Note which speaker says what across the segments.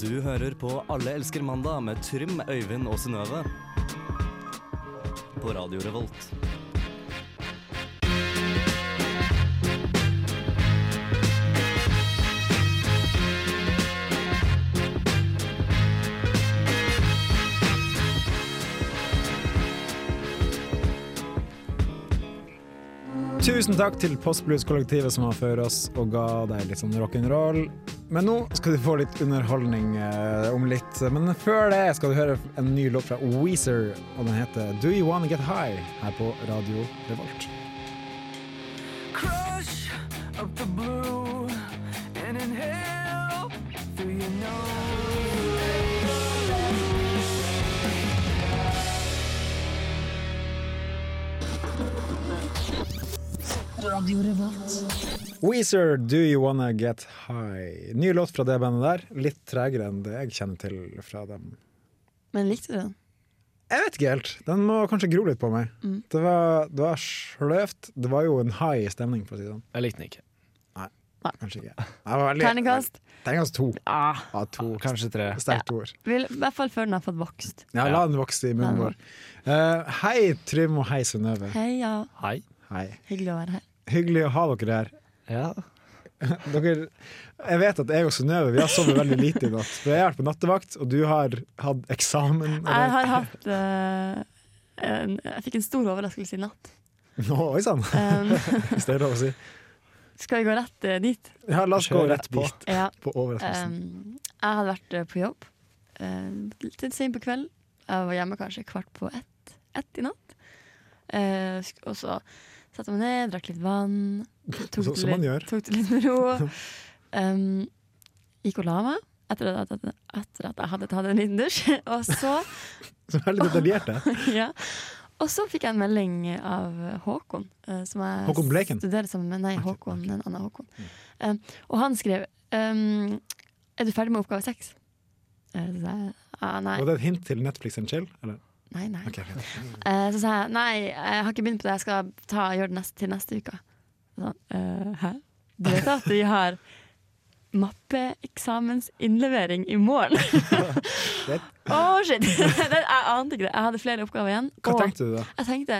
Speaker 1: Du hører på Alle elsker mandag med Trym, Øyvind og Synnøve. På Radio Revolt.
Speaker 2: Tusen takk til Postblues-kollektivet som har ført oss og ga deg litt sånn rock'n'roll. Men nå skal du få litt underholdning eh, om litt. Men før det skal du høre en ny låt fra Weezer, og den heter Do You Wanna Get High? her på Radio Revolt.
Speaker 3: Crush up the blue and inhale through your nose.
Speaker 2: Weezer, Do You Wanna Get High. Ny låt fra det bandet der. Litt tregere enn det jeg kjenner til fra dem.
Speaker 4: Men likte du den?
Speaker 2: Jeg vet ikke helt. Den må kanskje gro litt på meg.
Speaker 4: Mm.
Speaker 2: Det var, det var sløvt. Det var jo en high stemning, for å si det sånn.
Speaker 5: Jeg likte den ikke.
Speaker 2: Kanskje ikke. Det var veldig-
Speaker 4: Terningkast?
Speaker 2: Terningkast to.
Speaker 4: Ah,
Speaker 2: Ja, to.
Speaker 5: Kanskje tre.
Speaker 2: Sterkt ord.
Speaker 4: vil, I hvert fall før den har fått vokst.
Speaker 2: Ja, la den vokse i munnen
Speaker 4: Ja.
Speaker 2: vår. Eh, hei, Trym og hei, Synnøve.
Speaker 4: Heia.
Speaker 5: Hei.
Speaker 2: Hei.
Speaker 4: Hyggelig å være her.
Speaker 2: Hyggelig å ha dere her.
Speaker 5: Ja.
Speaker 2: Dere, jeg vet at jeg og Synnøve vi har sovet veldig lite i natt. For jeg har vært på nattevakt, og du har hatt eksamen.
Speaker 4: Jeg har hatt eh, en, Jeg fikk en stor overraskelse i natt.
Speaker 2: Nå, Oi sann,
Speaker 4: Um,
Speaker 2: hvis det er lov å si.
Speaker 4: skal vi gå rett eh, dit?
Speaker 2: Ja, la oss gå
Speaker 5: Kjør
Speaker 2: rett
Speaker 5: rett
Speaker 2: på,
Speaker 5: dit.
Speaker 4: Ja.
Speaker 2: på overraskelsen.
Speaker 4: Um, jeg hadde vært eh, på jobb um, litt sent på kvelden. Jeg var hjemme kanskje kvart på ett, ett i natt. Eh, sk- og så satte jeg meg ned, drakk litt vann. Tok,
Speaker 2: Så-
Speaker 4: det
Speaker 2: som man
Speaker 4: litt-
Speaker 2: gjør.
Speaker 4: tok det litt med ro. Um, gikk og la meg etter at, etter, etter at jeg hadde tatt en liten dusj. Og så,
Speaker 2: Så veldig detaljert. det.
Speaker 4: ja. og så fikk jeg en melding av Håkon. eh, Som jeg
Speaker 2: Håkon Bleken? Mm.
Speaker 4: studerer sammen med. Nei, Håkon, en annen Håkon. Um, og han skrev um, Er du ferdig med oppgave seks? Eh, Så sa jeg ah, nei,
Speaker 2: Var det et hint til Netflix and chill? Eller?
Speaker 4: nei, nei.
Speaker 2: Ok, fint.
Speaker 4: Eh, Så sa jeg nei, jeg har ikke begynt på det, jeg skal ta, gjøre det neste, til neste uke. Så, eh, Hæ? Du vet at vi har mappeeksamensinnlevering i morgen? Å, shit! Det- Jeg ante ikke det. Jeg hadde flere oppgaver igjen.
Speaker 2: Hva
Speaker 4: og
Speaker 2: tenkte du da?
Speaker 4: jeg tenkte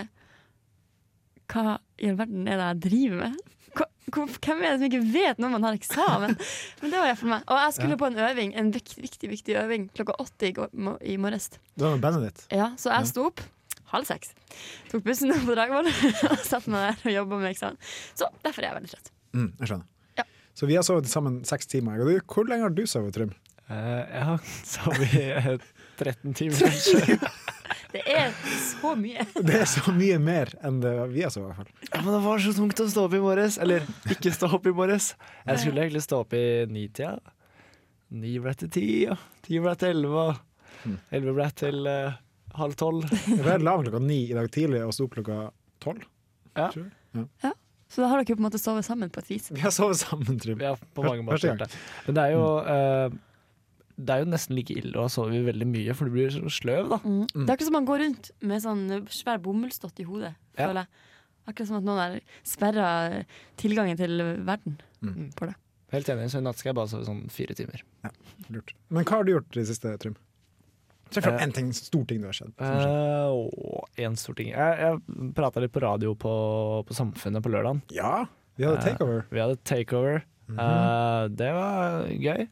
Speaker 4: Hva i all verden er det jeg driver med? Hva- hvor- Hvem er det som ikke vet når man har eksamen? Men det var jeg for meg. Og jeg skulle på en øving, en viktig, viktig, viktig øving klokka åtte i, går- mo- i morges.
Speaker 2: Det var med bandet ditt.
Speaker 4: Ja, så jeg sto opp halv seks. Tok bussen opp på Dragvoll og satte meg der og jobba med eksamen. Så derfor er jeg veldig trøtt.
Speaker 2: Mm, jeg skjønner.
Speaker 4: Ja.
Speaker 2: Så vi har sovet sammen seks timer. jeg og du. Hvor lenge har du sovet, Trym?
Speaker 5: jeg har sovet i eh, 13 timer, kanskje.
Speaker 4: Det er så mye.
Speaker 2: Det er så mye mer enn det vi har sovet, i hvert fall.
Speaker 5: Ja, men det var så tungt å stå opp i morges. Eller ikke stå opp i morges. Jeg skulle egentlig stå opp i nitida. Ni ble til ti, og ti ble til elleve, og elleve ble til eh, halv tolv.
Speaker 2: Jeg la meg klokka ni i dag tidlig og sto opp klokka tolv.
Speaker 5: Ja.
Speaker 2: tror jeg.
Speaker 4: Så da har dere jo på en måte sovet sammen på et vis.
Speaker 2: Vi har sovet sammen, Trym.
Speaker 5: Ja, på mange
Speaker 2: Første gang.
Speaker 5: måter. gjort det. Men det er jo eh, Det er jo nesten like ille å sove veldig mye, for du blir så sløv, da.
Speaker 4: Mm. Det er akkurat som man går rundt med sånn svær bomullsdott i hodet,
Speaker 5: Ja.
Speaker 4: føler jeg. Akkurat som at noen har sperra tilgangen til verden.
Speaker 2: Mm.
Speaker 5: Helt enig, så i natt skal jeg bare sove sånn fire timer.
Speaker 2: Lurt. Men hva har du gjort i det siste, Trym? Treff fram
Speaker 5: Eh.
Speaker 2: én ting, stor ting du har skjedd. som skjedde.
Speaker 5: Eh, og en stor ting Jeg, jeg prata litt på radio på, på Samfunnet på lørdagen.
Speaker 2: Ja, vi hadde
Speaker 5: Eh.
Speaker 2: takeover.
Speaker 5: Vi hadde takeover. Eh,
Speaker 2: Mhm.
Speaker 5: det var gøy.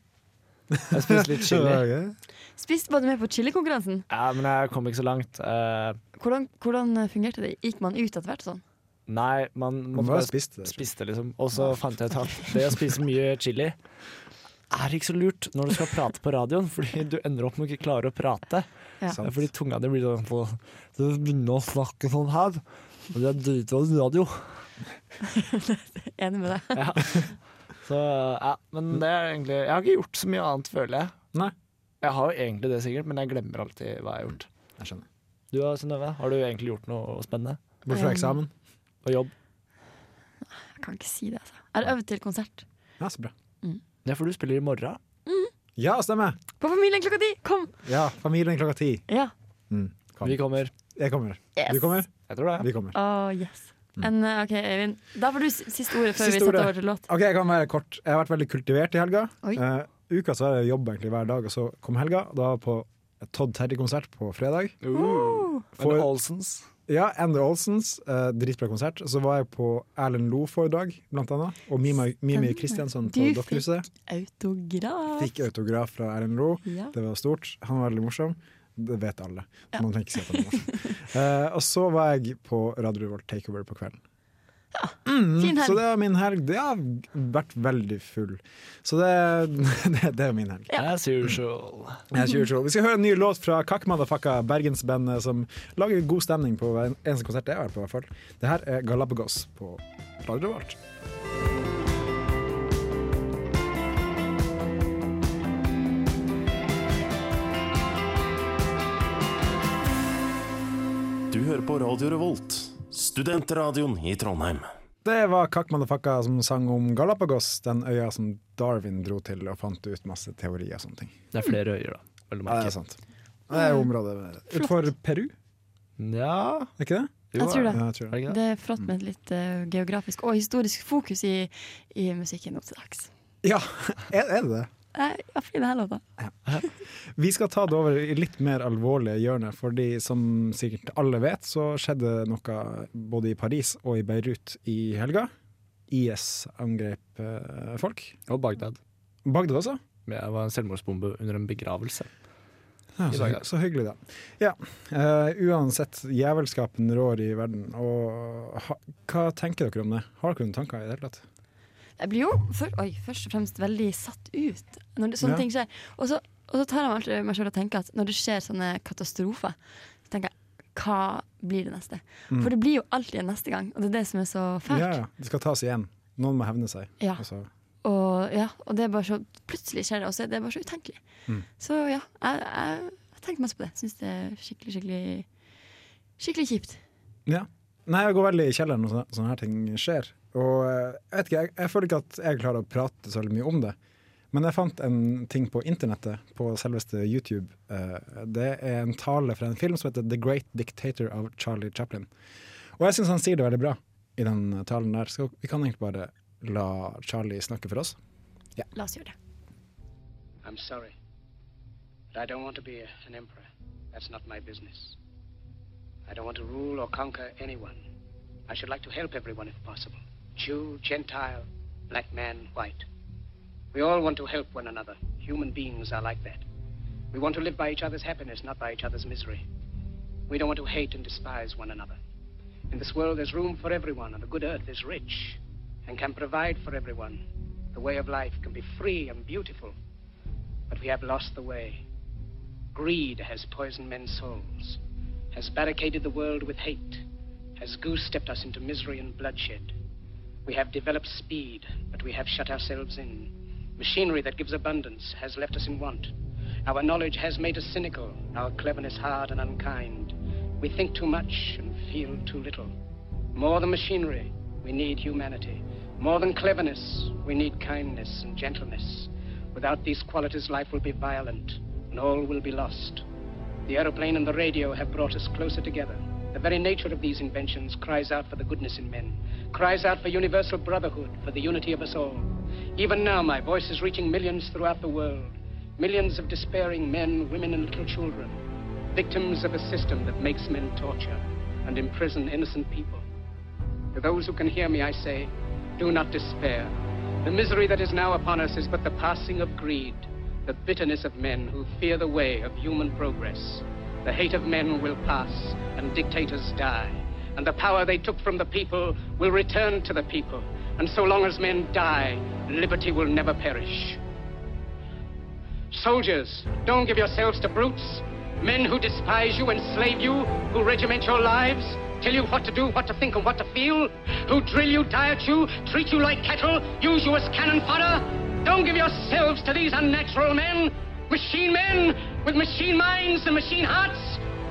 Speaker 5: Jeg spiste litt
Speaker 2: Det
Speaker 5: chili.
Speaker 2: var gøy.
Speaker 4: Spiste var du med på chilikonkurransen?
Speaker 5: Ja, men jeg kom ikke så langt. Eh,
Speaker 4: Hvordan, hvordan fungerte det? Gikk man ut etter hvert sånn?
Speaker 5: nei, man
Speaker 2: Man
Speaker 5: måtte
Speaker 2: bare
Speaker 5: bare spise.
Speaker 2: spiste det. Trym.
Speaker 5: Spiste, liksom. Og så fant jeg ut at det å spise mye chili er ikke så lurt når du skal prate på radioen, fordi du ender opp med å ikke klare å prate.
Speaker 4: Ja.
Speaker 5: Det er
Speaker 2: Sant.
Speaker 5: fordi tunga di blir sånn på Du begynner å snakke sånn her, og det er dritdårlig radio.
Speaker 4: Enig med deg.
Speaker 5: Ja. Så ja, men det er egentlig Jeg har ikke gjort så mye annet, føler jeg.
Speaker 2: Nei,
Speaker 5: Jeg har jo egentlig det sikkert, men jeg glemmer alltid hva jeg har gjort.
Speaker 2: jeg skjønner.
Speaker 5: Du da, Synnøve? Har du egentlig gjort noe spennende?
Speaker 2: Bort fra
Speaker 4: Um.
Speaker 2: eksamen.
Speaker 5: Og jobb?
Speaker 4: Jeg kan ikke si det, altså. Jeg har øvd til konsert.
Speaker 2: Ja, så bra.
Speaker 5: Ja, for du spiller i morgen.
Speaker 2: Ja, stemmer!
Speaker 4: På Familien klokka ti! Kom!
Speaker 2: Ja, Familien klokka ti.
Speaker 4: Ja.
Speaker 2: Mm. Kom.
Speaker 5: Vi kommer.
Speaker 2: Jeg kommer.
Speaker 4: Yes.
Speaker 2: Du kommer,
Speaker 5: Jeg tror det.
Speaker 2: vi kommer.
Speaker 4: Åh, yes. En, eh, ok, Øyvind. Da får du s- siste ordet før
Speaker 2: Siste
Speaker 4: vi setter
Speaker 2: ordet.
Speaker 4: over til låt.
Speaker 2: Ok, Jeg kan være kort. Jeg har vært veldig kultivert i helga.
Speaker 4: Oi.
Speaker 2: Eh, uka så har jeg jobb egentlig hver dag, og så kom helga. Da var jeg på et Todd Terry-konsert på fredag.
Speaker 5: Uh.
Speaker 2: For-
Speaker 5: Men Olsens
Speaker 2: Ja, Endre Olsens, eh, dritbra konsert. Så var jeg på Erlend Loe-foredrag, blant annet. Og Mima- Mimi
Speaker 4: Spennende.
Speaker 2: Kristiansson på
Speaker 4: Du
Speaker 2: Dokkerhuset.
Speaker 4: Autograf.
Speaker 2: Fikk autograf fra Erlend Loe.
Speaker 4: Ja.
Speaker 2: Det var stort. Han var veldig morsom. Det vet alle.
Speaker 4: Ja.
Speaker 2: Man trenger ikke si at han er morsom. Eh, og så var jeg på Radio Revolt Takeover på kvelden. Mm,
Speaker 4: fin helg.
Speaker 2: Så det var min helg. Det har vært veldig full. Så det, det, det er min helg.
Speaker 4: Ja.
Speaker 5: as usual.
Speaker 4: Mhm.
Speaker 2: Jeg kjører show. Vi skal høre en ny låt fra Kakk Madafaka, bergensbandet som lager god stemning på hver eneste konsert jeg har vært på. i hvert fall. Det her er Galapagos på Radio Revolt.
Speaker 6: Du hører på Radio Revolt, studentradioen i Trondheim.
Speaker 2: Det var Kakk Madafaka som sang om Galapagos, den øya som Darwin dro til og fant ut masse teorier og sånne ting.
Speaker 5: Det er flere øyer, da. Vel
Speaker 2: Ja,
Speaker 5: å
Speaker 2: det
Speaker 5: merke.
Speaker 2: er sant. Det er jo området utenfor Peru,
Speaker 5: Nja
Speaker 2: er ikke det?
Speaker 5: jo,
Speaker 4: Jeg tror det.
Speaker 2: Ja, Mm. jeg tror
Speaker 5: Er det ikke det?
Speaker 4: Det er flott med et litt eh, geografisk og historisk fokus i, i musikken nå til dags.
Speaker 2: Ja, er, er det det?
Speaker 4: Nei, Ja, fin den her låta.
Speaker 2: Vi skal ta det over i litt mer alvorlige hjørnet, fordi som sikkert alle vet, så skjedde noe både i Paris og i Beirut i helga. IS angrep eh, folk.
Speaker 5: Og Bagdad.
Speaker 2: Bagdad også.
Speaker 5: Men jeg var en selvmordsbombe under en begravelse.
Speaker 2: Ja, så, hy- så hyggelig, da. Ja, eh, uansett, jævelskapen rår i verden. Og ha, hva tenker dere om det? Har dere noen tanker i det hele tatt?
Speaker 4: Jeg blir jo for, oi, først og fremst veldig satt ut når det, sånne
Speaker 2: Ja.
Speaker 4: ting skjer. Og så, og så tar jeg meg alltid meg selv og tenker at når det skjer sånne katastrofer, så tenker jeg hva blir det neste? For det blir jo alltid en neste gang, og det er det som er så fælt.
Speaker 2: Mm. Ja, ja, det skal tas igjen. Noen må hevne seg.
Speaker 4: Ja.
Speaker 2: Altså,
Speaker 4: Og, ja, og det er bare så plutselig skjer det, og så er det bare så utenkelig.
Speaker 2: Mm.
Speaker 4: Så ja, jeg, jeg, jeg har tenkt masse på det. Syns det er skikkelig, skikkelig Skikkelig kjipt.
Speaker 2: Ja. Nei, jeg går veldig i kjelleren når sånne, sånne her ting skjer. Og eh, jeg vet ikke, jeg, jeg føler ikke at jeg klarer å prate så veldig mye om det. Men jeg fant en ting på internettet, på selveste YouTube. Eh, Det er en tale fra en film som heter The Great Dictator av Charlie Chaplin. Og jeg syns han sier det veldig bra i den talen der. Så vi kan egentlig bare la Charlie snakke for oss.
Speaker 4: La oss gjøre det.
Speaker 7: I'm sorry, but I don't want to be a- an emperor. That's not my business. I don't want to rule or conquer anyone. I should like to help everyone if possible Jew, Gentile, black man, white. We all want to help one another. Human beings are like that. We want to live by each other's happiness, not by each other's misery. We don't want to hate and despise one another. In this world, there's room for everyone, and the good earth is rich and can provide for everyone. The way of life can be free and beautiful. But we have lost the way. Greed has poisoned men's souls, has barricaded the world with hate, has goose-stepped us into misery and bloodshed. We have developed speed, but we have shut ourselves in. Machinery that gives abundance has left us in want. Our knowledge has made us cynical, our cleverness hard and unkind. We think too much and feel too little. More than machinery, we need humanity. More than cleverness, we need kindness and gentleness. Without these qualities, life will be violent, and all will be lost. The aeroplane and the radio have brought us closer together. The very nature of these inventions cries out for the goodness in men, cries out for universal brotherhood, for the unity of us all. Even now, my voice is reaching millions throughout the world, millions of despairing men, women, and little children, victims of a system that makes men torture and imprison innocent people. To those who can hear me, I say, do not despair. The misery that is now upon us is but the passing of greed, the bitterness of men who fear the way of human progress. The hate of men will pass, and dictators die. And the power they took from the people will return to the people. And so long as men die, liberty will never perish. Soldiers, don't give yourselves to brutes. Men who despise you, enslave you, who regiment your lives, tell you what to do, what to think, and what to feel, who drill you, diet you, treat you like cattle, use you as cannon fodder. Don't give yourselves to these unnatural men, machine men with machine minds and machine hearts.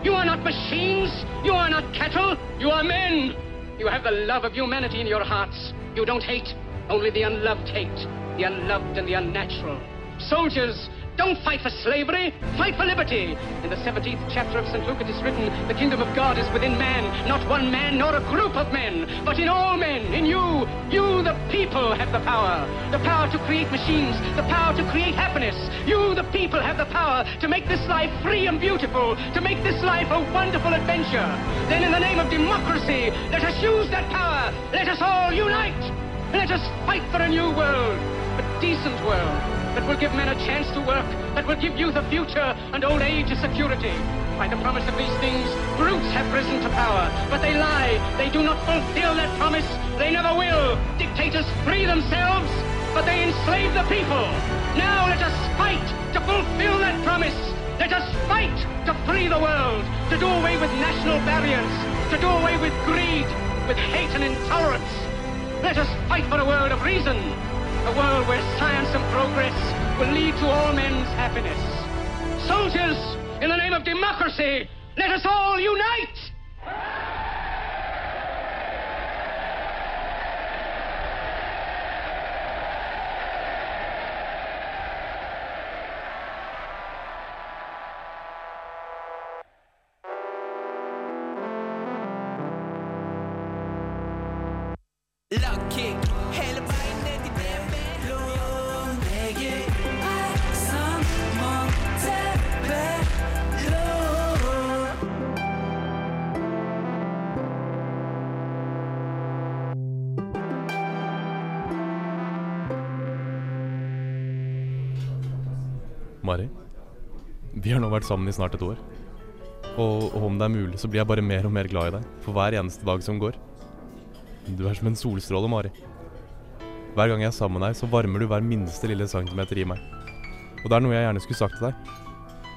Speaker 7: You are not machines, you are not cattle, you are men. You have the love of humanity in your hearts. You don't hate, only the unloved hate, the unloved and the unnatural. Soldiers, Don't fight for slavery, fight for liberty. In the 17th chapter of St. Luke it is written, the kingdom of God is within man, not one man nor a group of men, but in all men, in you. You, the people, have the power. The power to create machines, the power to create happiness. You, the people, have the power to make this life free and beautiful, to make this life a wonderful adventure. Then in the name of democracy, let us use that power. Let us all unite. Let us fight for a new world, a decent world that will give men a chance to work, that will give youth a future and old age a security. By the promise of these things, brutes have risen to power, but they lie. They do not fulfill that promise. They never will. Dictators free themselves, but they enslave the people. Now let us fight to fulfill that promise. Let us fight to free the world, to do away with national barriers, to do away with greed, with hate and intolerance. Let us fight for a world of reason, a world where science and progress will lead to all men's happiness. Soldiers, in the name of democracy, let us all unite!
Speaker 8: Lagkick hele veien ned i brevet. Blåneger er som monteblå.
Speaker 9: Mari, vi har nå vært sammen i snart et år. Og, og om det er mulig, så blir jeg bare mer og mer glad i deg for hver eneste dag som går. Du er som en solstråle, Mari. Hver gang jeg er sammen med deg, så varmer du hver minste lille centimeter i meg. Og det er noe jeg gjerne skulle sagt til deg.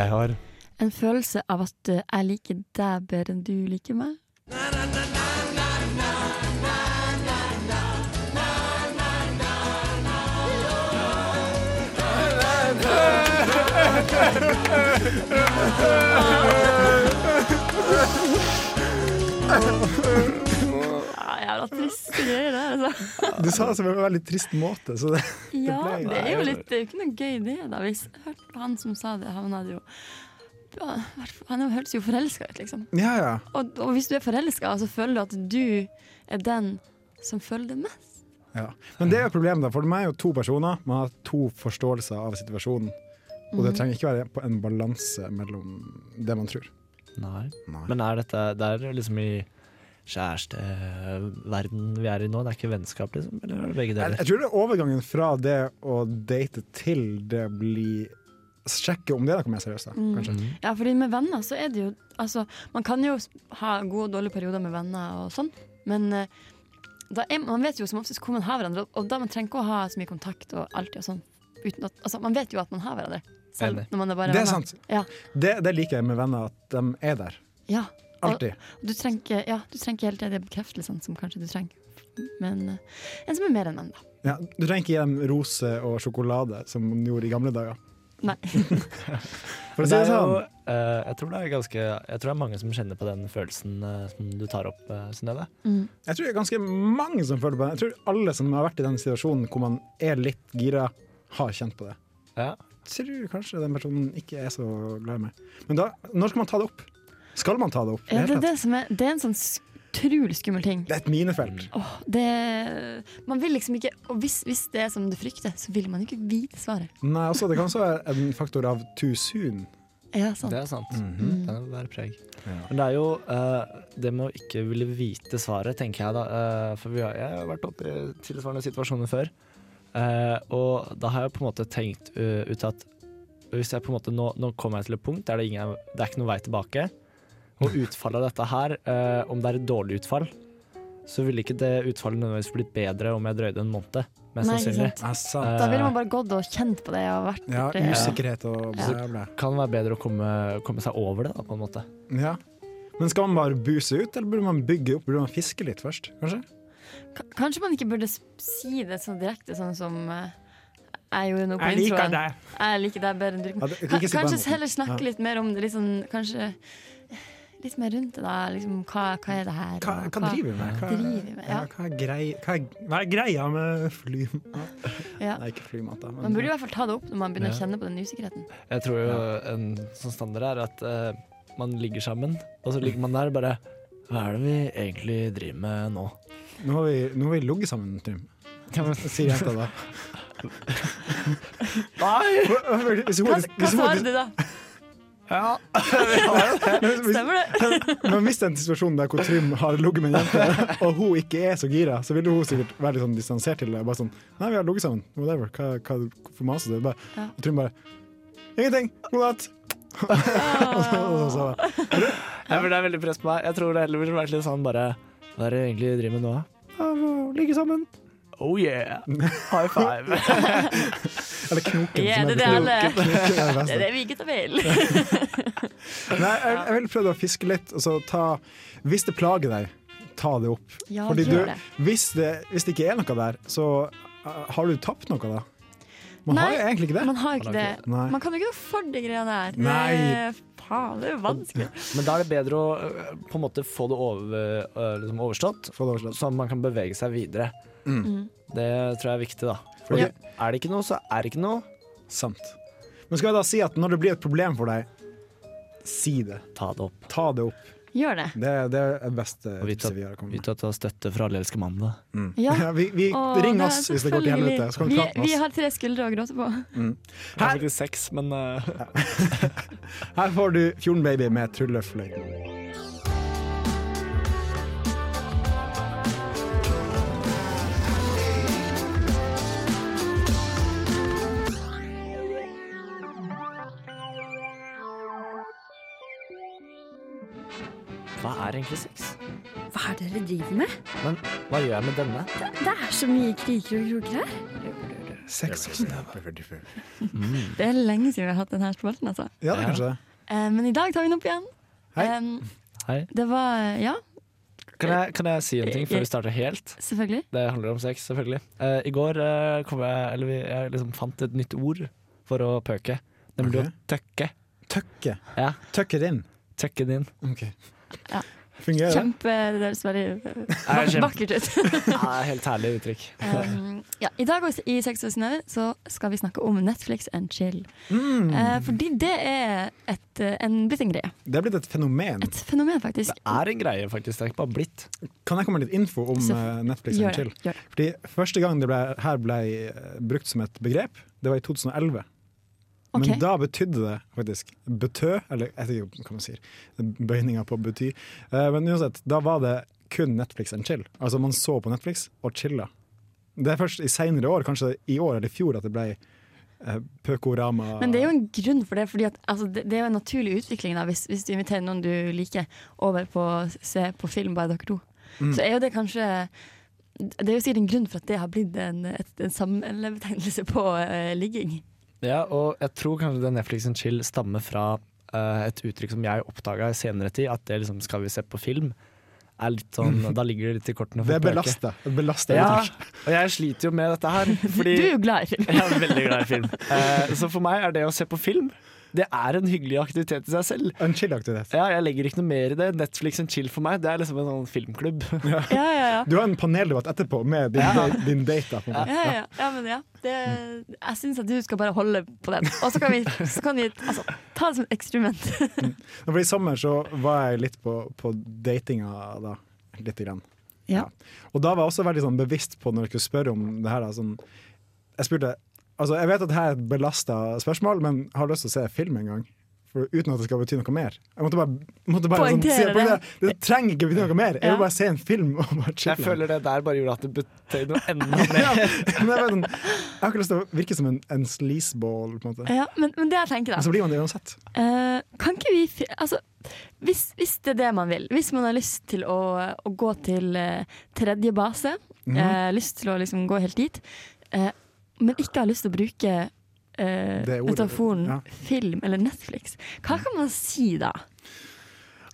Speaker 9: Jeg har
Speaker 4: En følelse av at eh, jeg liker deg bedre enn du liker meg. Ja, Jævla triste greier, det her, altså.
Speaker 2: Du sa det på en veldig trist måte, så det
Speaker 4: Ja,
Speaker 2: ble-
Speaker 4: det er jo litt Det er jo ikke noe gøy, det. da Hvis hørt han som sa det, han hadde jo Ja, Han hørtes jo forelska ut, liksom.
Speaker 2: Ja, ja.
Speaker 4: Og, og hvis du er forelska, så føler du at du er den som føler det mest.
Speaker 2: Ja. Men det er jo et problem, da, for man er jo to personer. Man har to forståelser av situasjonen. Og
Speaker 5: Mhm.
Speaker 2: det trenger ikke være på en balanse mellom det man tror.
Speaker 5: Nei.
Speaker 2: Nei.
Speaker 5: Men er dette Det er liksom i kjæresteverden vi er i nå? Det er ikke vennskap, liksom? Eller er det begge
Speaker 2: Jeg,
Speaker 5: deler?
Speaker 2: jeg tror det er overgangen fra det å date til det bli Sjekke om det er noe mer seriøst, da.
Speaker 4: Mm.
Speaker 2: Kanskje.
Speaker 4: Ja, fordi med venner så er det jo Altså, man kan jo ha gode og dårlige perioder med venner og sånn, men eh, da er, man vet jo som oftest hvor man har hverandre, og da man trenger ikke å ha så mye kontakt og alltid og sånn. Uten at, altså, man vet jo at man har hverandre, selv
Speaker 5: Enig.
Speaker 4: når man er bare
Speaker 2: Det er
Speaker 4: venner.
Speaker 2: sant.
Speaker 4: Ja.
Speaker 2: Det, det liker jeg med venner, at de er der.
Speaker 4: Ja.
Speaker 2: Alltid.
Speaker 4: Du trenger ikke ja, du trenger ikke hele tiden de bekreftelsene som kanskje du trenger. Men eh, en som er mer enn venn, da.
Speaker 2: Ja, du trenger ikke gi dem roser og sjokolade, som man gjorde i gamle dager.
Speaker 4: Nei.
Speaker 2: For å
Speaker 5: Men
Speaker 2: si
Speaker 5: det
Speaker 2: det
Speaker 5: er jo,
Speaker 2: sånn.
Speaker 5: eh, jeg tror det er ganske Jeg tror det er mange som kjenner på den følelsen eh, som du tar opp, uh, Synnøve.
Speaker 2: Jeg tror det er ganske mange som føler på det. Jeg tror alle som har vært i den situasjonen hvor man er litt gira, har kjent på det.
Speaker 5: Ja.
Speaker 2: tror kanskje den personen ikke er så glad i meg. Men da, når skal man ta det opp? Skal man ta det opp?
Speaker 4: Ja, det,
Speaker 2: Helt
Speaker 4: er det, som er, det er en sånn utrolig skummel ting.
Speaker 2: rett. det er et minefelt.
Speaker 4: Åh, det, man vil liksom ikke Og hvis, hvis det er som du frykter, så vil man jo ikke vite svaret.
Speaker 2: Nei, også, det kan også være en faktor av too soon.
Speaker 4: Ja, sant.
Speaker 5: Det er sant.
Speaker 4: Mm. Mhm.
Speaker 5: Det bærer preg. Men det er jo eh, det med å ikke ville vite svaret, tenker jeg da. eh, for vi har, jeg har vært oppe i tilsvarende situasjoner før. Eh, og da har jeg på en måte tenkt eh, ut at hvis jeg på en måte, nå, nå kommer jeg til et punkt der det, ingen, det er ikke noen vei tilbake. Og utfallet av dette her, eh, om det er et dårlig utfall, så ville ikke det utfallet nødvendigvis blitt bedre om jeg drøyde en måned. Mest
Speaker 4: Nei, ikke
Speaker 5: sannsynlig.
Speaker 4: sant.
Speaker 2: Altså,
Speaker 5: Eh,
Speaker 4: Da ville man bare gått og kjent på det og vært
Speaker 2: ja,
Speaker 4: borte.
Speaker 2: usikkerhet og
Speaker 4: Ja.
Speaker 2: bla, bla.
Speaker 5: Eh, kan det være bedre å komme, komme seg over det, da, på en måte.
Speaker 2: Ja. Men skal man bare buse ut, eller burde man bygge opp? Burde man fiske litt først, kanskje?
Speaker 4: K- Kanskje man ikke burde s- si det så direkte, sånn som eh, jeg gjorde nå på introen.
Speaker 2: deg!
Speaker 4: Jeg liker deg bedre enn du
Speaker 2: Ja, det-
Speaker 4: Ka-
Speaker 2: ikke si på den
Speaker 4: Kanskje
Speaker 2: måten.
Speaker 4: heller snakke
Speaker 2: Ja.
Speaker 4: litt mer om det, litt sånn, kanskje liksom, litt mer rundt det, da. Liksom, hva, hva er det her?
Speaker 10: Hva,
Speaker 4: og
Speaker 10: hva driver vi med? Hva,
Speaker 4: driver vi med?
Speaker 10: ja,
Speaker 4: Ja.
Speaker 10: hva, er grei, hva, er, hva er greia med flymat?
Speaker 4: Ja.
Speaker 10: Nei, ikke flymat, da.
Speaker 4: Man burde i hvert fall ta det opp når man begynner å
Speaker 5: Ja.
Speaker 4: kjenne på den usikkerheten.
Speaker 5: Jeg tror jo en sånn standard er at eh, man ligger sammen, og så ligger man der og bare Hva er det vi egentlig driver med nå?
Speaker 2: Nå har vi, nå har vi ligget sammen, Trym. Sier jenta da.
Speaker 5: Nei!
Speaker 2: Hvis
Speaker 4: Hva,
Speaker 2: hodet-
Speaker 4: hva
Speaker 2: hvis
Speaker 4: svarer
Speaker 2: hodet-
Speaker 4: du da?
Speaker 2: Ja. Hvis-
Speaker 4: Stemmer det?
Speaker 2: Men hvis det er en situasjon der hvor Trym har ligget med en jente, og hun ikke er så gira, så ville hun sikkert være litt sånn distansert til det. Bare sånn Nei, vi har ligget sammen. Whatever. Hva, hva, hvorfor maser du? Bare,
Speaker 4: Ja.
Speaker 2: Og Trym bare Ingenting. God natt. Og så, så,
Speaker 5: Jeg føler det er veldig press på meg. Jeg tror det heller ville vært litt sånn bare Hva er det vi egentlig driver med nå, da? Ja, vi Ligger sammen. Oh yeah! High five.
Speaker 2: eller knoken.
Speaker 4: Ja,
Speaker 2: som
Speaker 4: det er det alle
Speaker 2: knoken er det
Speaker 4: Det
Speaker 2: beste.
Speaker 4: er det vi gutter vil.
Speaker 2: Nei, jeg, jeg vil prøve å fiske litt, og så ta Hvis det plager deg, ta det opp.
Speaker 4: Ja,
Speaker 2: Fordi du,
Speaker 4: gjør det.
Speaker 2: hvis, det, hvis det ikke er noe der, så uh, har du tapt noe da? Man har
Speaker 4: Nei,
Speaker 2: jo egentlig ikke det.
Speaker 4: Man har jo ikke det.
Speaker 2: Nei.
Speaker 4: Man kan jo ikke noe for de greiene der.
Speaker 2: Nei.
Speaker 4: Det- Faen, det er jo vanskelig.
Speaker 5: Men da er det bedre å øh, på en måte få det over, øh, liksom overstått, Mm.
Speaker 2: Få det overstått.
Speaker 5: sånn at man kan bevege seg videre. Det tror jeg er viktig, da.
Speaker 2: Fordi-
Speaker 5: Fordi Er det ikke noe, så er det ikke noe.
Speaker 2: Sant. Men skal jeg da si at når det blir et problem for deg, si det.
Speaker 5: Ta det opp.
Speaker 2: Ta det opp.
Speaker 4: Gjør det.
Speaker 2: Det, det er det beste
Speaker 5: Og vi tar-
Speaker 2: tipset vi har
Speaker 5: Vi
Speaker 2: kommet med.
Speaker 5: tar ta støtte fra Alle elsker mandag.
Speaker 4: Ja.
Speaker 2: Ja, vi, vi,
Speaker 4: Å,
Speaker 2: ring
Speaker 4: det er
Speaker 2: oss hvis det går til
Speaker 4: selvfølgelig.
Speaker 2: helvete. Så kan du prate
Speaker 4: Vi, vi
Speaker 2: med oss.
Speaker 4: har tre skuldre å gråte på.
Speaker 5: Jeg har faktisk seks, men øh,
Speaker 2: Her får du Fjordenbaby med Tryllefløy.
Speaker 5: hva er egentlig sex?
Speaker 11: Hva er det dere driver med?
Speaker 5: Men hva gjør jeg med denne?
Speaker 11: Det er så mye kriker og kroker her.
Speaker 4: Det er lenge siden vi har hatt denne spalten, altså.
Speaker 2: Ja, det er kanskje det.
Speaker 4: Eh, men i dag tar vi den opp igjen.
Speaker 2: Hei.
Speaker 4: Em,
Speaker 5: Hei.
Speaker 4: Det var Ja,
Speaker 5: Kan jeg, kan jeg si en ting før vi starter helt?
Speaker 4: selvfølgelig.
Speaker 5: Det handler om sex, selvfølgelig. Eh, I går eh, kom jeg, eller vi, jeg liksom fant et nytt ord for å pøke.
Speaker 2: Ok.
Speaker 5: Nemlig å tøkke.
Speaker 2: Tøkke.
Speaker 5: Ja.
Speaker 2: Tøkke det inn.
Speaker 5: Tøkke det inn.
Speaker 2: Ok.
Speaker 4: Ja.
Speaker 2: Fungerer det?
Speaker 4: Kjempe Det høres veldig eh,
Speaker 5: Er kjempe-
Speaker 4: vakkert ut.
Speaker 5: Ja, det er helt herlig uttrykk.
Speaker 4: Em, Ehm, ja, I dag også i Sex og Synnøve så skal vi snakke om Netflix and chill.
Speaker 2: Mm.
Speaker 4: Eh, fordi det er et, eh, en blitt en greie.
Speaker 2: Det er blitt et fenomen.
Speaker 4: Et fenomen, faktisk.
Speaker 5: Det er en greie, faktisk. Det er ikke bare blitt.
Speaker 2: Kan jeg komme med litt info om
Speaker 4: Selvfø-
Speaker 2: eh, Netflix
Speaker 4: Altså, Gjør
Speaker 2: and
Speaker 4: det.
Speaker 2: chill?
Speaker 4: Gjør det.
Speaker 2: Fordi Første gang det ble, her ble eh, brukt som et begrep, det var i 2011.
Speaker 4: Ok.
Speaker 2: Men da betydde det faktisk betø, eller jeg vet ikke hva man sier, bøyninga på bety. Eh, Men uansett, da var det kun Netflix and chill. Altså man så på Netflix og chilla. Det er først i seinere år, kanskje i år eller i fjor, at det ble eh, pøkorama.
Speaker 4: Men det er jo en grunn for det. Fordi at, altså, det, det er jo en naturlig utvikling da, hvis, hvis du inviterer noen du liker, over på å se på film bare dere to.
Speaker 2: Mm.
Speaker 4: Så er jo det kanskje Det er jo sikkert en grunn for at det har blitt en, et, en samlebetegnelse på eh, ligging.
Speaker 5: Ja, og jeg tror kanskje det Netflix and chill stammer fra eh, et uttrykk som jeg oppdaga i senere tid, at det liksom skal vi se på film, er litt sånn Da ligger det litt i kortene.
Speaker 2: det
Speaker 5: for
Speaker 2: er
Speaker 5: pøke.
Speaker 2: belasta. belasta
Speaker 5: Ja,
Speaker 2: uttrykk.
Speaker 5: og jeg sliter jo med dette her, fordi
Speaker 4: Du er jo glad i film.
Speaker 5: Jeg er veldig glad i film. Eh, så for meg er det å se på film Det er en hyggelig aktivitet i seg selv.
Speaker 2: En chill-aktivitet.
Speaker 5: Ja, jeg legger ikke noe mer i det. Netflix and chill for meg, det er liksom en sånn filmklubb.
Speaker 4: Ja, ja, ja.
Speaker 2: Du har en paneldebatt etterpå med din, din date. Da, på en måte.
Speaker 4: Ja, ja, ja, men ja. Det, jeg syns at du skal bare holde på den. Og så kan vi, så kan vi altså, ta det som et eksperiment.
Speaker 2: Ja, For I sommer så var jeg litt på, på datinga da. Litt grann.
Speaker 4: Ja.
Speaker 2: Og da var jeg også veldig sånn bevisst på når jeg skulle spørre om det her. Da, sånn, jeg spurte Altså, jeg vet at det her er et belasta spørsmål, men har lyst til å se film en gang. For, uten at det skal bety noe mer. Jeg måtte bare, måtte bare sånn,
Speaker 4: Poengtere
Speaker 2: si- poengtere, det. trenger ikke bety noe mer. Jeg
Speaker 4: Ja.
Speaker 2: vil bare se en film og bare
Speaker 5: Jeg
Speaker 2: chille.
Speaker 5: føler det der bare gjorde at det betød noe enda mer.
Speaker 2: Ja, men jeg, vet sånn, jeg har ikke lyst til å virke som en, en sleazeball, på en måte.
Speaker 4: Ja, men, men det jeg tenker da
Speaker 2: Men så blir man det uansett.
Speaker 4: Eh, kan ikke vi fi- altså, hvis, hvis det er det man vil, hvis man har lyst til å, å gå til eh, tredje base,
Speaker 2: Mhm.
Speaker 4: eh, lyst til å liksom gå helt dit, eh, men ikke har lyst til å bruke eh,
Speaker 2: Det ordet,
Speaker 4: metaforen
Speaker 2: ja.
Speaker 4: film eller Netflix, hva kan man si da?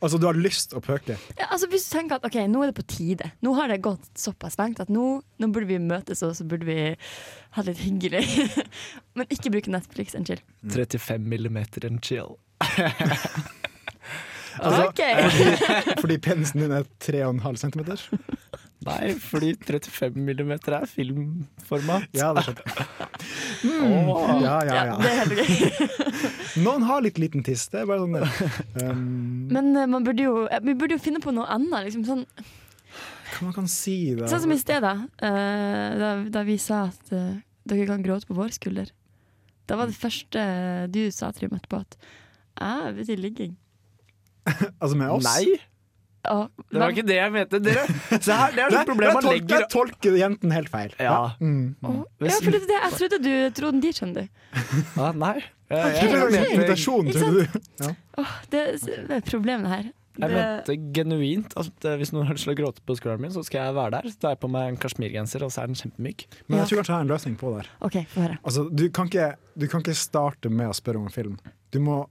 Speaker 2: Altså, du har lyst å pøke.
Speaker 4: Ja, altså, hvis du tenker at ok, nå er det på tide, nå har det gått såpass langt at nå, nå burde vi møtes og så burde vi ha det litt hyggelig, men ikke bruke Netflix, unnskyld.
Speaker 5: 35 millimeter and chill.
Speaker 4: Ok.
Speaker 2: fordi, fordi penisen din er 3,5 cm?
Speaker 5: Nei, fordi 35 millimeter er filmformat.
Speaker 2: Ja, det skjønte jeg. Mm.
Speaker 5: Åh.
Speaker 2: Ja, ja, ja.
Speaker 4: Ja, det er helt
Speaker 2: Noen har litt liten tiss, det er bare sånn det. Um,
Speaker 4: Men eh, man burde jo, eh, vi burde jo finne på noe annet. Liksom, sånn,
Speaker 2: hva man kan si da?
Speaker 4: sånn som i sted, da. eh, da, da vi sa at eh, dere kan gråte på vår skulder. Da var det første eh, du sa, Trym, etterpå at "Ah, jeg vil til ligging.
Speaker 2: Altså med oss?
Speaker 5: Nei,
Speaker 4: Og,
Speaker 5: det var ikke det jeg mente. Dere, se her, det er
Speaker 2: Der-
Speaker 5: et problem
Speaker 2: der
Speaker 5: man
Speaker 2: tol-
Speaker 5: legger
Speaker 2: Der tolker jenten helt feil.
Speaker 5: Ja.
Speaker 2: Mm.
Speaker 4: ja, for det, er det, jeg trodde du trodde de skjønner.
Speaker 5: Ah, Nei. Jeg,
Speaker 2: Jeg
Speaker 5: jeg,
Speaker 2: trodde det var en
Speaker 5: mente,
Speaker 2: invitasjon, trodde du. Ja.
Speaker 4: Det, det er problemet her.
Speaker 5: jeg
Speaker 4: Det,
Speaker 5: mente genuint altså, at hvis noen har lyst til å gråte på skulderen min, så skal jeg være der. Så tar jeg på meg en kasjmirgenser, og så er den kjempemyk.
Speaker 2: Men jeg tror kanskje jeg har en løsning på det. her.
Speaker 4: OK, få høre.
Speaker 2: Altså, du, kan ikke, du kan ikke starte med å spørre om en film. Du må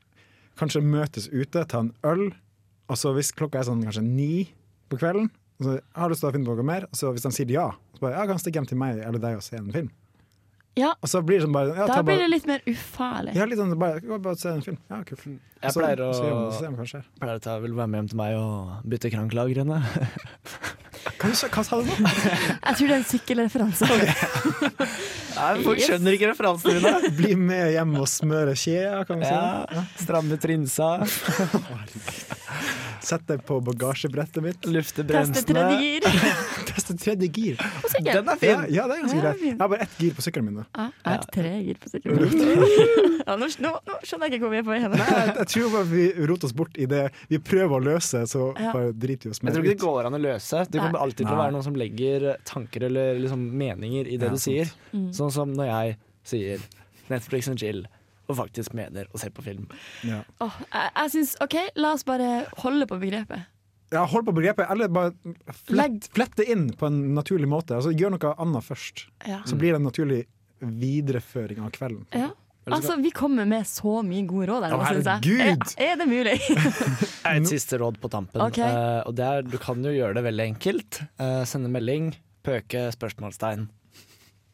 Speaker 2: kanskje møtes ute, ta en øl, og så hvis klokka er sånn kanskje ni på kvelden, og så har du lyst til å finne på noe mer, og så hvis han sier ja, så bare ja, kan han stikke hjem til meg eller deg og se en film.
Speaker 4: Ja.
Speaker 2: Og så blir det sånn bare ja,
Speaker 4: Da
Speaker 2: ta
Speaker 4: blir
Speaker 2: bare,
Speaker 4: det litt mer ufarlig.
Speaker 2: ja, litt sånn bare, gå bare og se en film. Ja, kult.
Speaker 5: Jeg
Speaker 2: Så-
Speaker 5: pleier å,
Speaker 2: så gjør man det, så ser man hva skjer.
Speaker 5: pleier å ta, vil du være med hjem til meg og bytte kranklagrene.
Speaker 2: Hva, sa- hva sa du nå?
Speaker 4: Jeg tror det er en sykkelreferanse.
Speaker 5: Nei, Folk
Speaker 4: Yes.
Speaker 5: skjønner ikke referansene mine.
Speaker 2: Bli med hjem og smøre skjea, kan vi si.
Speaker 5: Ja,
Speaker 2: det? Ja.
Speaker 5: stramme trinsa,
Speaker 2: Sett deg på bagasjebrettet mitt.
Speaker 5: lufte
Speaker 4: Teste tredje
Speaker 5: bremsene.
Speaker 4: gir
Speaker 2: Teste tredje gir.
Speaker 4: på sykkel.
Speaker 5: Den er
Speaker 2: Ja,
Speaker 5: fin!
Speaker 2: ja, det er ganske
Speaker 4: Ja,
Speaker 2: greit.
Speaker 4: fin.
Speaker 2: Jeg har bare ett gir på sykkelen min. da.
Speaker 4: Ja, Jeg har tre gir på sykkelen. Ja, nå, nå, nå skjønner jeg ikke hvor vi er på vei hen.
Speaker 2: Nei, jeg, jeg tror bare vi roter oss bort i det vi prøver å løse, så
Speaker 4: Ja.
Speaker 2: bare driter vi oss
Speaker 5: Jeg
Speaker 2: mer
Speaker 5: tror ikke
Speaker 2: ut.
Speaker 5: det går an å løse. Det kommer alltid til å være noen som legger tanker eller liksom meninger i det
Speaker 2: Ja,
Speaker 5: du sier.
Speaker 4: Mm.
Speaker 5: Sånn som når jeg sier Netflix and chill, og faktisk mener å se på film.
Speaker 2: Ja.
Speaker 4: Åh, jeg, jeg synes, ok, La oss bare holde på begrepet.
Speaker 2: Ja, hold på begrepet, eller bare
Speaker 4: Legg.
Speaker 2: flett, flett det inn på en naturlig måte. Altså, gjør noe annet først,
Speaker 4: Ja.
Speaker 2: så blir det en naturlig videreføring av kvelden.
Speaker 4: Ja. Altså, Vi kommer med så mye gode råd her nå,
Speaker 2: Å,
Speaker 4: syns jeg. Er,
Speaker 2: herregud!
Speaker 4: er det mulig?
Speaker 5: Et siste råd på tampen.
Speaker 4: Ok.
Speaker 5: Eh, og det er, du kan jo gjøre det veldig enkelt. Eh, sende melding, pøke, spørsmålstegn.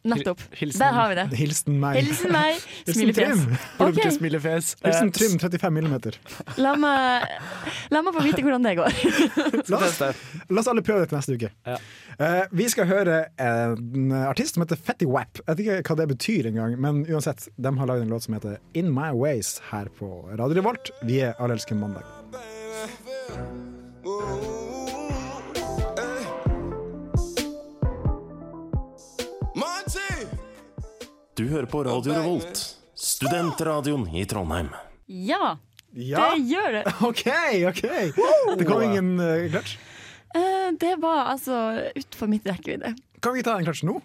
Speaker 4: Nettopp.
Speaker 5: Hilsen-
Speaker 4: Der har vi det.
Speaker 2: Hilsen meg.
Speaker 4: Hilsen meg,
Speaker 2: Hilsen Trym.
Speaker 4: smilefjes. Ok,
Speaker 5: Blunke, smilefjes.
Speaker 2: Hilsen
Speaker 5: Eh,
Speaker 2: Trym 35 millimeter.
Speaker 4: la meg, la meg få vite hvordan det går.
Speaker 2: La oss, la oss alle prøve det til neste uke.
Speaker 5: Ja.
Speaker 2: Eh, vi skal høre en artist som heter Fetty Wap. Jeg vet ikke hva det betyr engang, men uansett, de har lagd en låt som heter In My Ways her på Radio Revolt. Vi er Allelske mandag.
Speaker 6: Du hører på Radio Revolt, studentradioen i Trondheim.
Speaker 4: Ja, det
Speaker 2: Ja,
Speaker 4: gjør det.
Speaker 2: OK! ok Det kom ingen eh, klatsj.
Speaker 4: Eh, Det var altså utenfor mitt rekkevidde.
Speaker 2: Kan vi ta en klatsj nå?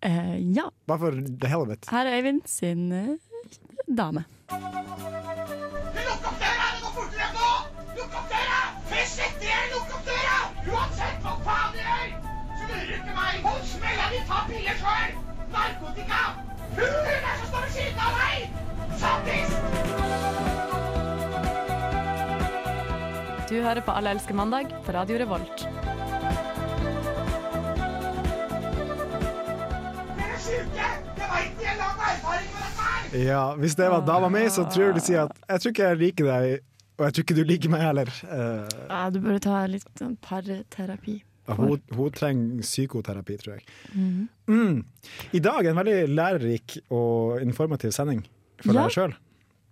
Speaker 4: Eh, Ja.
Speaker 2: Bare for the hell of it.
Speaker 4: Her er Øyvind sin eh, dame.
Speaker 12: Du hører på Alle elsker mandag på Radio Revolt.
Speaker 2: Ja, Hvis det var dama mi, så tror jeg du sier at jeg tror ikke jeg liker deg, og jeg tror ikke du liker meg heller. Eh,
Speaker 4: Ja, du burde ta litt sånn parterapi.
Speaker 2: hun, hun trenger psykoterapi, tror jeg.
Speaker 4: Mhm.
Speaker 2: Mm. I dag en veldig lærerik og informativ sending for
Speaker 4: Ja.
Speaker 2: deg sjøl.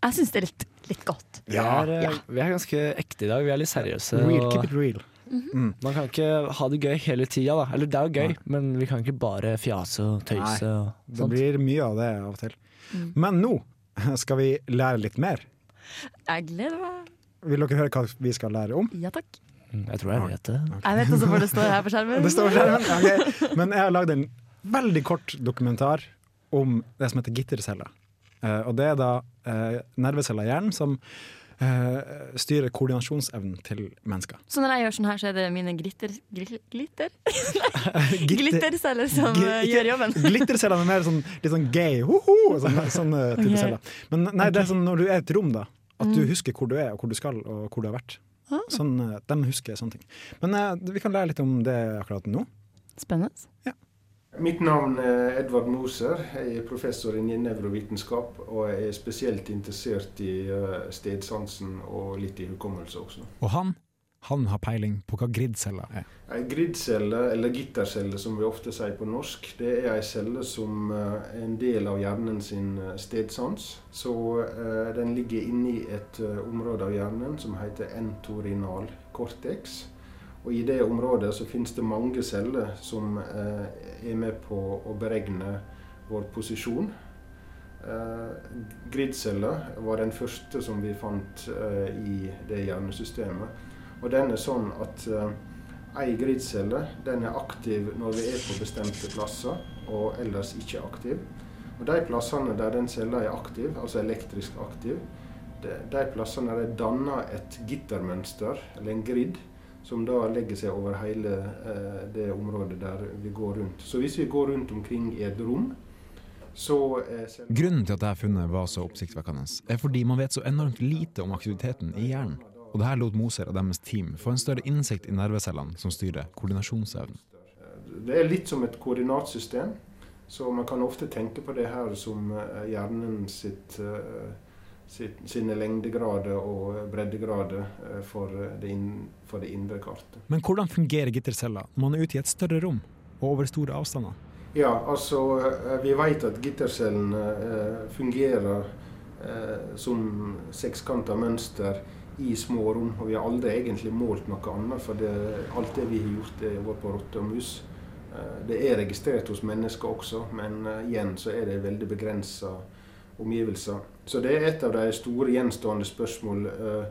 Speaker 4: Jeg syns det er litt, litt godt.
Speaker 5: Vi, er, eh, vi er ganske ekte i dag. Vi er litt seriøse.
Speaker 2: eh, Real,
Speaker 5: og
Speaker 2: keep it real.
Speaker 5: man kan ikke ha det gøy hele tida, da. Eller det er jo gøy, men vi kan ikke bare fjase og tøyse og
Speaker 2: Det
Speaker 5: sånt.
Speaker 2: blir mye av det av og til.
Speaker 4: Mm.
Speaker 2: Men nå skal vi lære litt mer.
Speaker 4: Jeg gleder meg.
Speaker 2: Vil dere høre hva vi skal lære om?
Speaker 4: Ja takk.
Speaker 5: Mm, Jeg tror jeg vet det.
Speaker 4: Jeg vet også hvor det står her på skjermen.
Speaker 2: Det står på skjermen. ok. Men jeg har lagd en veldig kort dokumentar om det som heter gitterceller. Eh, og det er da eh, nerveceller i hjernen som eh, styrer koordinasjonsevnen til mennesker.
Speaker 4: Så når jeg gjør sånn her, så er det mine glitter... gri- Glitter?
Speaker 2: Gitter-
Speaker 4: Glitterceller som
Speaker 2: Gi-
Speaker 4: eh,
Speaker 2: ikke-
Speaker 4: gjør jobben.
Speaker 2: Glitterceller er mer sånn, litt sånn gay, hoho, sånn, sånn eh, type
Speaker 4: Ok. Mm.
Speaker 2: celler. Men nei, det er sånn når du er i et rom, da, at du husker hvor du er, og hvor du skal, og hvor du har vært.
Speaker 4: Ah.
Speaker 2: Sånn, eh, de husker sånne ting. Men eh, vi kan lære litt om det akkurat nå.
Speaker 4: Spennende.
Speaker 13: Mitt navn er Edvard Moser. Jeg er professor innen nevrovitenskap. Og jeg er spesielt interessert i eh, stedsansen og litt i hukommelse også.
Speaker 2: Og han, han har peiling på hva gridceller er.
Speaker 13: Ei gridcelle, eller gittercelle som vi ofte sier på norsk, det er ei celle som eh, er en del av hjernen sin eh, stedsans. Så eh, den ligger inni et eh, område av hjernen som heter entorinal cortex. Og i det området så finnes det mange celler som eh, er med på å beregne vår posisjon. Eh, Gridceller var den første som vi fant eh, i det hjernesystemet. Og den er sånn at eh, ei gridcelle den er aktiv når vi er på bestemte plasser, og ellers ikke aktiv. Og de plassene der den cella er aktiv, altså elektrisk aktiv, de, de plassene der danner et gittermønster, eller en grid, som da legger seg over hele eh, det området der vi går rundt. Så hvis vi går rundt omkring i et rom, så eh, er cella
Speaker 2: Grunnen til at dette funnet var så oppsiktsvekkende, er fordi man vet så enormt lite om aktiviteten i hjernen. Og det her lot Moser og deres team få en større innsikt i nervecellene som styrer koordinasjonsevnen.
Speaker 13: Det er litt som et koordinatsystem. Så man kan ofte tenke på det her som eh, hjernen sitt, eh, sitt, sine lengdegrader og breddegrader eh, for eh, det, inn, for det indre kartet.
Speaker 2: Men hvordan fungerer gitterceller når man er ute i et større rom og over store avstander?
Speaker 13: Ja, altså eh, vi vet at gittercellene eh, fungerer eh, som sekskanta mønster i små rom, og vi har aldri egentlig målt noe annet, for det, alt det vi har gjort, det har vært på rotte og mus. Eh, Det er registrert hos mennesker også, men eh, igjen så er det veldig begrensa omgivelser. Så det er et av de store gjenstående spørsmål. Eh,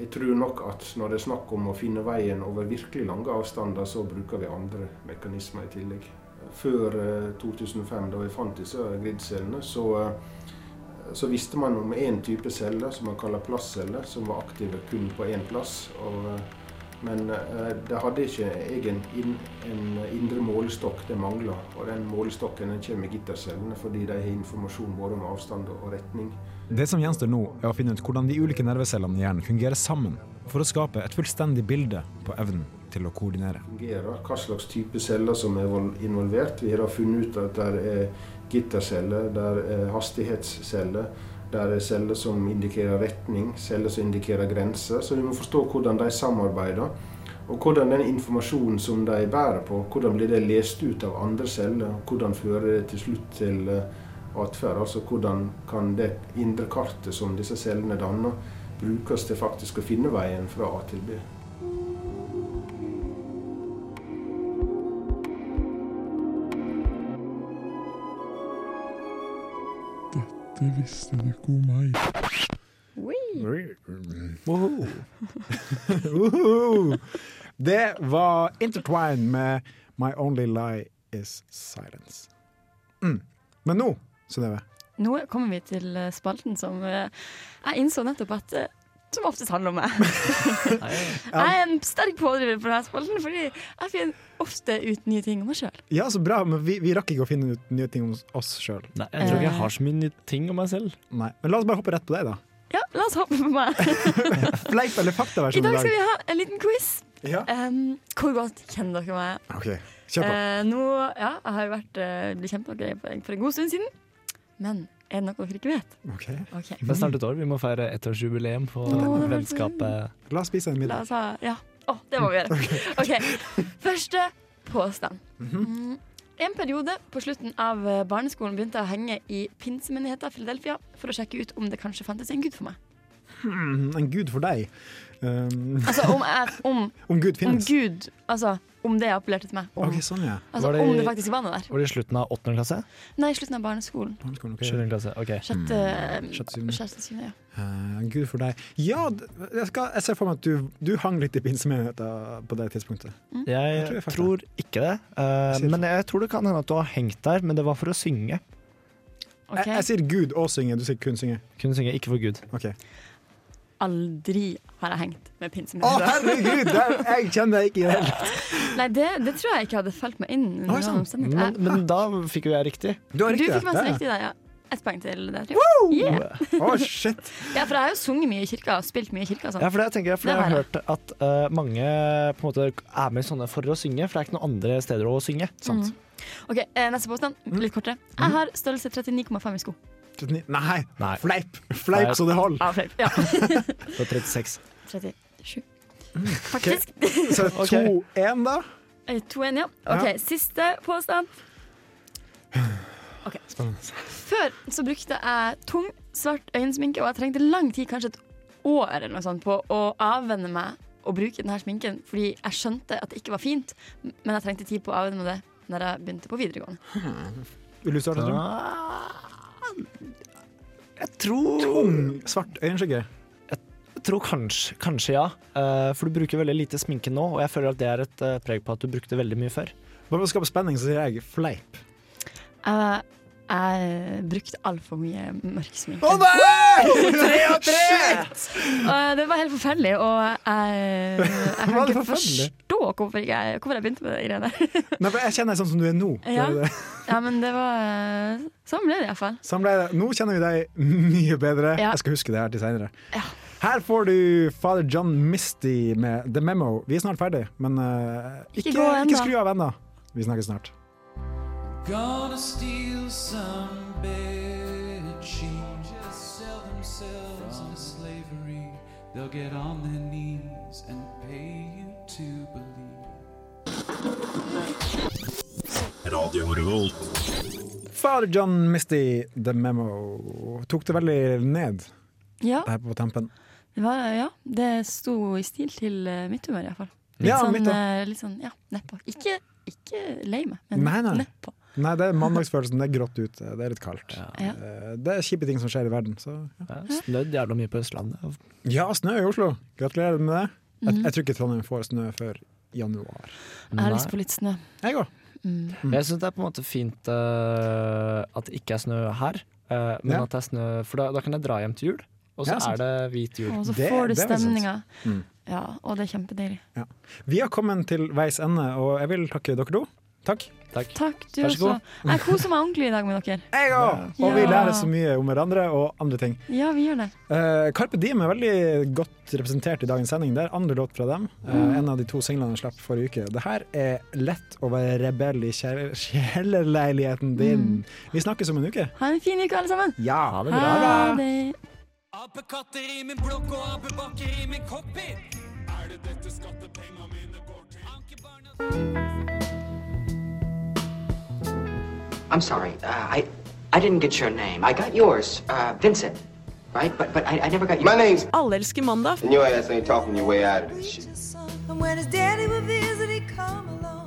Speaker 13: Jeg tror nok at når det er snakk om å finne veien over virkelig lange avstander, så bruker vi andre mekanismer i tillegg. Før eh, 2005, da vi fant disse gridcellene, så, eh, så visste man om én type celler som man kaller plastceller, som var aktive kun på én plass. Og, eh, men eh, det hadde ikke egen inn, en indre målestokk, det mangla. Og den målestokken den kommer i gittercellene fordi de har informasjon både om avstand og retning.
Speaker 2: Det som gjenstår nå, er å finne ut hvordan de ulike nervecellene i hjernen fungerer sammen, for å skape et fullstendig bilde på evnen til å koordinere.
Speaker 13: fungerer, hva slags type celler som er vol- involvert. Vi har da funnet ut at der er gitterceller, der er hastighetsceller, der er celler som indikerer retning, celler som indikerer grenser. Så vi må forstå hvordan de samarbeider, og hvordan den informasjonen som de bærer på, hvordan blir det lest ut av andre celler, og hvordan fører det til slutt til eh, atferd. Altså hvordan kan det indre kartet som disse cellene danner, brukes til faktisk å finne veien fra A til B.
Speaker 14: Dette visste du ikke om meg.
Speaker 2: Woho. Woho. Det var Intertwine med My Only Lie Is Silence. Mm. Men nå, Synnøve,
Speaker 4: Nå kommer vi til eh, spalten som eh, jeg innså nettopp at eh, som oftest handler om meg. jeg er en sterk pådriver for denne spalten, fordi jeg finner ofte ut nye ting om meg sjøl.
Speaker 2: Ja, så bra, men vi, vi rakk ikke å finne ut nye ting om oss sjøl. Nei,
Speaker 4: jeg tror ikke jeg har
Speaker 2: så mye nye ting om meg selv. Nei, Men la oss bare hoppe rett på deg, da.
Speaker 4: Ja, la oss hoppe på meg.
Speaker 2: Fleip eller
Speaker 4: I
Speaker 2: faktaversjon
Speaker 4: dag skal vi ha en liten quiz.
Speaker 2: Ja.
Speaker 4: Em, hvor godt kjenner dere meg?
Speaker 2: Ok, Kjør på.
Speaker 4: Eh, nå, ja, jeg har jo vært eh, blitt kjent med dere for, for en god stund siden. Men er det noe dere ikke vet? Ok.
Speaker 5: Det er snart et år. Vi må feire ettårsjubileum på
Speaker 4: Å, det er
Speaker 5: vennskapet.
Speaker 2: La oss spise en
Speaker 4: La oss ha Ja. Å, det må vi gjøre. OK. Første påstand. Mm, En periode på slutten av eh, barneskolen begynte jeg å henge i pinsemenigheten i Philadelphia for å sjekke ut om det kanskje fantes en gud for meg.
Speaker 2: Hmm, en gud for deg. Um,
Speaker 4: Altså om, jeg, om,
Speaker 2: om Gud
Speaker 4: om
Speaker 2: finnes.
Speaker 4: Gud Altså om det appellerte til meg. Om,
Speaker 2: Ok, sånn, ja.
Speaker 4: altså,
Speaker 5: Var det-
Speaker 4: om det faktisk var noe der.
Speaker 5: Var det i slutten av åttende klasse?
Speaker 4: Nei, i slutten av barneskolen.
Speaker 5: Sjuende klasse, ok.
Speaker 4: Sjette,
Speaker 2: Mm, Sjette, syvende.
Speaker 4: sjette syvende, ja.
Speaker 2: Eh, Gud for deg. Ja, d- jeg, skal, jeg ser for meg at du, du hang litt i pinsemenigheten på det tidspunktet.
Speaker 5: Jeg
Speaker 2: tror jeg fant
Speaker 5: tror ikke det. eh, men jeg tror det kan hende at du har hengt der, men det var for å synge.
Speaker 2: Jeg, jeg sier Gud og synge, du sier kun synge.
Speaker 5: Kun synge, ikke for Gud.
Speaker 2: Ok.
Speaker 4: Aldri har jeg hengt med
Speaker 2: Å,
Speaker 4: pinsemenigheten.
Speaker 2: herregud! der- jeg kjenner deg ikke i det hele tatt.
Speaker 4: Nei, det, det tror jeg ikke hadde falt meg inn. under
Speaker 5: Oi,
Speaker 4: noen
Speaker 5: sant.
Speaker 4: omstendighet.
Speaker 5: Men,
Speaker 4: Jeg-
Speaker 5: men da fikk jo jeg riktig.
Speaker 4: Du fikk masse riktig der, ja. Ett poeng til der. tror jeg. Yeah.
Speaker 2: shit.
Speaker 4: Ja, for jeg har jo sunget mye i kirka og spilt mye i kirka. og sånn.
Speaker 5: Ja, for det jeg tenker jeg, for
Speaker 4: Det
Speaker 5: jeg har
Speaker 4: har
Speaker 5: hørt at eh, mange på en måte er med i sånne for å synge, for det er ikke noen andre steder å synge.
Speaker 4: Sant. Mm. Ok, eh, Neste påstand,
Speaker 2: Mm.
Speaker 4: litt kortere. Jeg har størrelse 39,5 i sko.
Speaker 2: 39. Nei, fleip! Fleip
Speaker 5: Nei.
Speaker 2: så det holder!
Speaker 4: Ja, fleip. Ja.
Speaker 5: På 36.
Speaker 4: 37.
Speaker 2: Mm, Ok,
Speaker 4: Faktisk.
Speaker 2: Så er det 2-1, da.
Speaker 4: Eh, 2-1, ja. OK,
Speaker 2: Ja.
Speaker 4: siste påstand.
Speaker 2: Spennende.
Speaker 4: Før så brukte jeg tung, svart øyensminke, og jeg trengte lang tid, kanskje et år eller noe sånt, på å avvenne meg og bruke denne sminken, fordi jeg skjønte at det ikke var fint, men jeg trengte tid på å avvenne meg det når jeg begynte på videregående.
Speaker 2: Vil du starte, Trond?
Speaker 5: Ah,
Speaker 2: Jeg tror Tung, svart øyenskygge.
Speaker 5: Jeg tror kanskje, kanskje ja. Eh, for du bruker veldig lite sminke nå, og jeg føler at det er et eh, preg på at du brukte veldig mye før.
Speaker 2: Bare for å skape spenning, så sier jeg fleip.
Speaker 4: Jeg, jeg brukte altfor mye mørk sminke.
Speaker 2: Å nei!
Speaker 8: Tre
Speaker 2: av tre!
Speaker 4: Og Det var helt forferdelig, og jeg, jeg kan
Speaker 2: Var det
Speaker 4: ikke
Speaker 2: forferdelig?
Speaker 4: forstå hvorfor jeg, hvorfor jeg begynte med de greiene der.
Speaker 2: Nei, for jeg kjenner deg sånn som du er nå. Det er
Speaker 4: Ja.
Speaker 2: det.
Speaker 4: ja, men det var Sånn ble det iallfall.
Speaker 2: Sånn ble det. Nå kjenner vi deg mye bedre.
Speaker 4: Ja.
Speaker 2: Jeg skal huske det her til seinere. Her får du Father John Misty med The Memo. Vi er snart ferdig, men eh,
Speaker 8: Ikke
Speaker 2: ikke,
Speaker 8: gå
Speaker 2: ikke,
Speaker 8: ennå.
Speaker 2: skru av ennå. Vi snakkes snart.
Speaker 8: Gonna steal some bed sheets. Just sell themselves into slavery. They'll get on their knees and pay you to
Speaker 6: Radio Revolt.
Speaker 2: Father John Misty, The Memo. Tok det veldig ned
Speaker 4: Ja,
Speaker 2: det her på tampen.
Speaker 4: det, var, ja, det sto i stil til eh, mitt humør, iallfall. Litt,
Speaker 2: Ja, mitt
Speaker 4: sånn,
Speaker 2: også.
Speaker 4: eh, litt sånn ja, nedpå. Ikke, ikke lei meg, men
Speaker 2: Nei, nei.
Speaker 4: nedpå.
Speaker 2: Nei, det er mandagsfølelsen. Det er grått ute. Det er litt kaldt.
Speaker 4: Ja.
Speaker 2: Eh, Det er kjipe ting som skjer i verden. Så, ja.
Speaker 5: Snødd jævla mye på Østlandet.
Speaker 2: ja, snø i Oslo. Gratulerer med det. Jeg,
Speaker 4: Mhm.
Speaker 2: jeg tror ikke Trondheim får snø før januar.
Speaker 4: Jeg har lyst på litt snø.
Speaker 2: Jeg òg.
Speaker 4: Mm.
Speaker 5: Jeg syns det er på en måte fint eh, at det ikke er snø her, eh, men
Speaker 2: Ja.
Speaker 5: at det er snø For da, da kan jeg dra hjem til jul, og så
Speaker 2: Ja, sant.
Speaker 5: er det hvit jul.
Speaker 4: Og så får du stemninga.
Speaker 2: Mm.
Speaker 4: Ja, og det er kjempedeilig.
Speaker 2: Ja. Vi har kommet til veis ende, og jeg vil takke dere to. Takk.
Speaker 5: Takk.
Speaker 4: Du også. Jeg koser meg ordentlig i dag med dere.
Speaker 2: Jeg òg! Og vi lærer så mye om hverandre og andre ting.
Speaker 4: Ja, vi gjør det.
Speaker 2: Eh, Carpe Diem er veldig godt representert i dagens sending. Det er andre låt fra dem. Eh,
Speaker 4: Mm.
Speaker 2: En av de to singlene jeg slapp forrige uke. Det her er 'Lett å være rebell i kjell- kjellerleiligheten din'. Vi snakkes om en uke.
Speaker 4: Ha en fin uke, alle sammen.
Speaker 2: Ja! Ha
Speaker 4: Ha det.
Speaker 8: Apekatter i min blokk og apebakker i min cockpit. Er det dette skattepenga mine går til?
Speaker 15: I'm sorry. Uh, I I didn't get your name. I got yours, uh, Vincent, right? But but I, I never got your
Speaker 16: My name's-
Speaker 15: Alle elsker mandag.
Speaker 16: And your ass ain't talking your way out of this shit.
Speaker 17: And when his daddy would visit, he'd come along.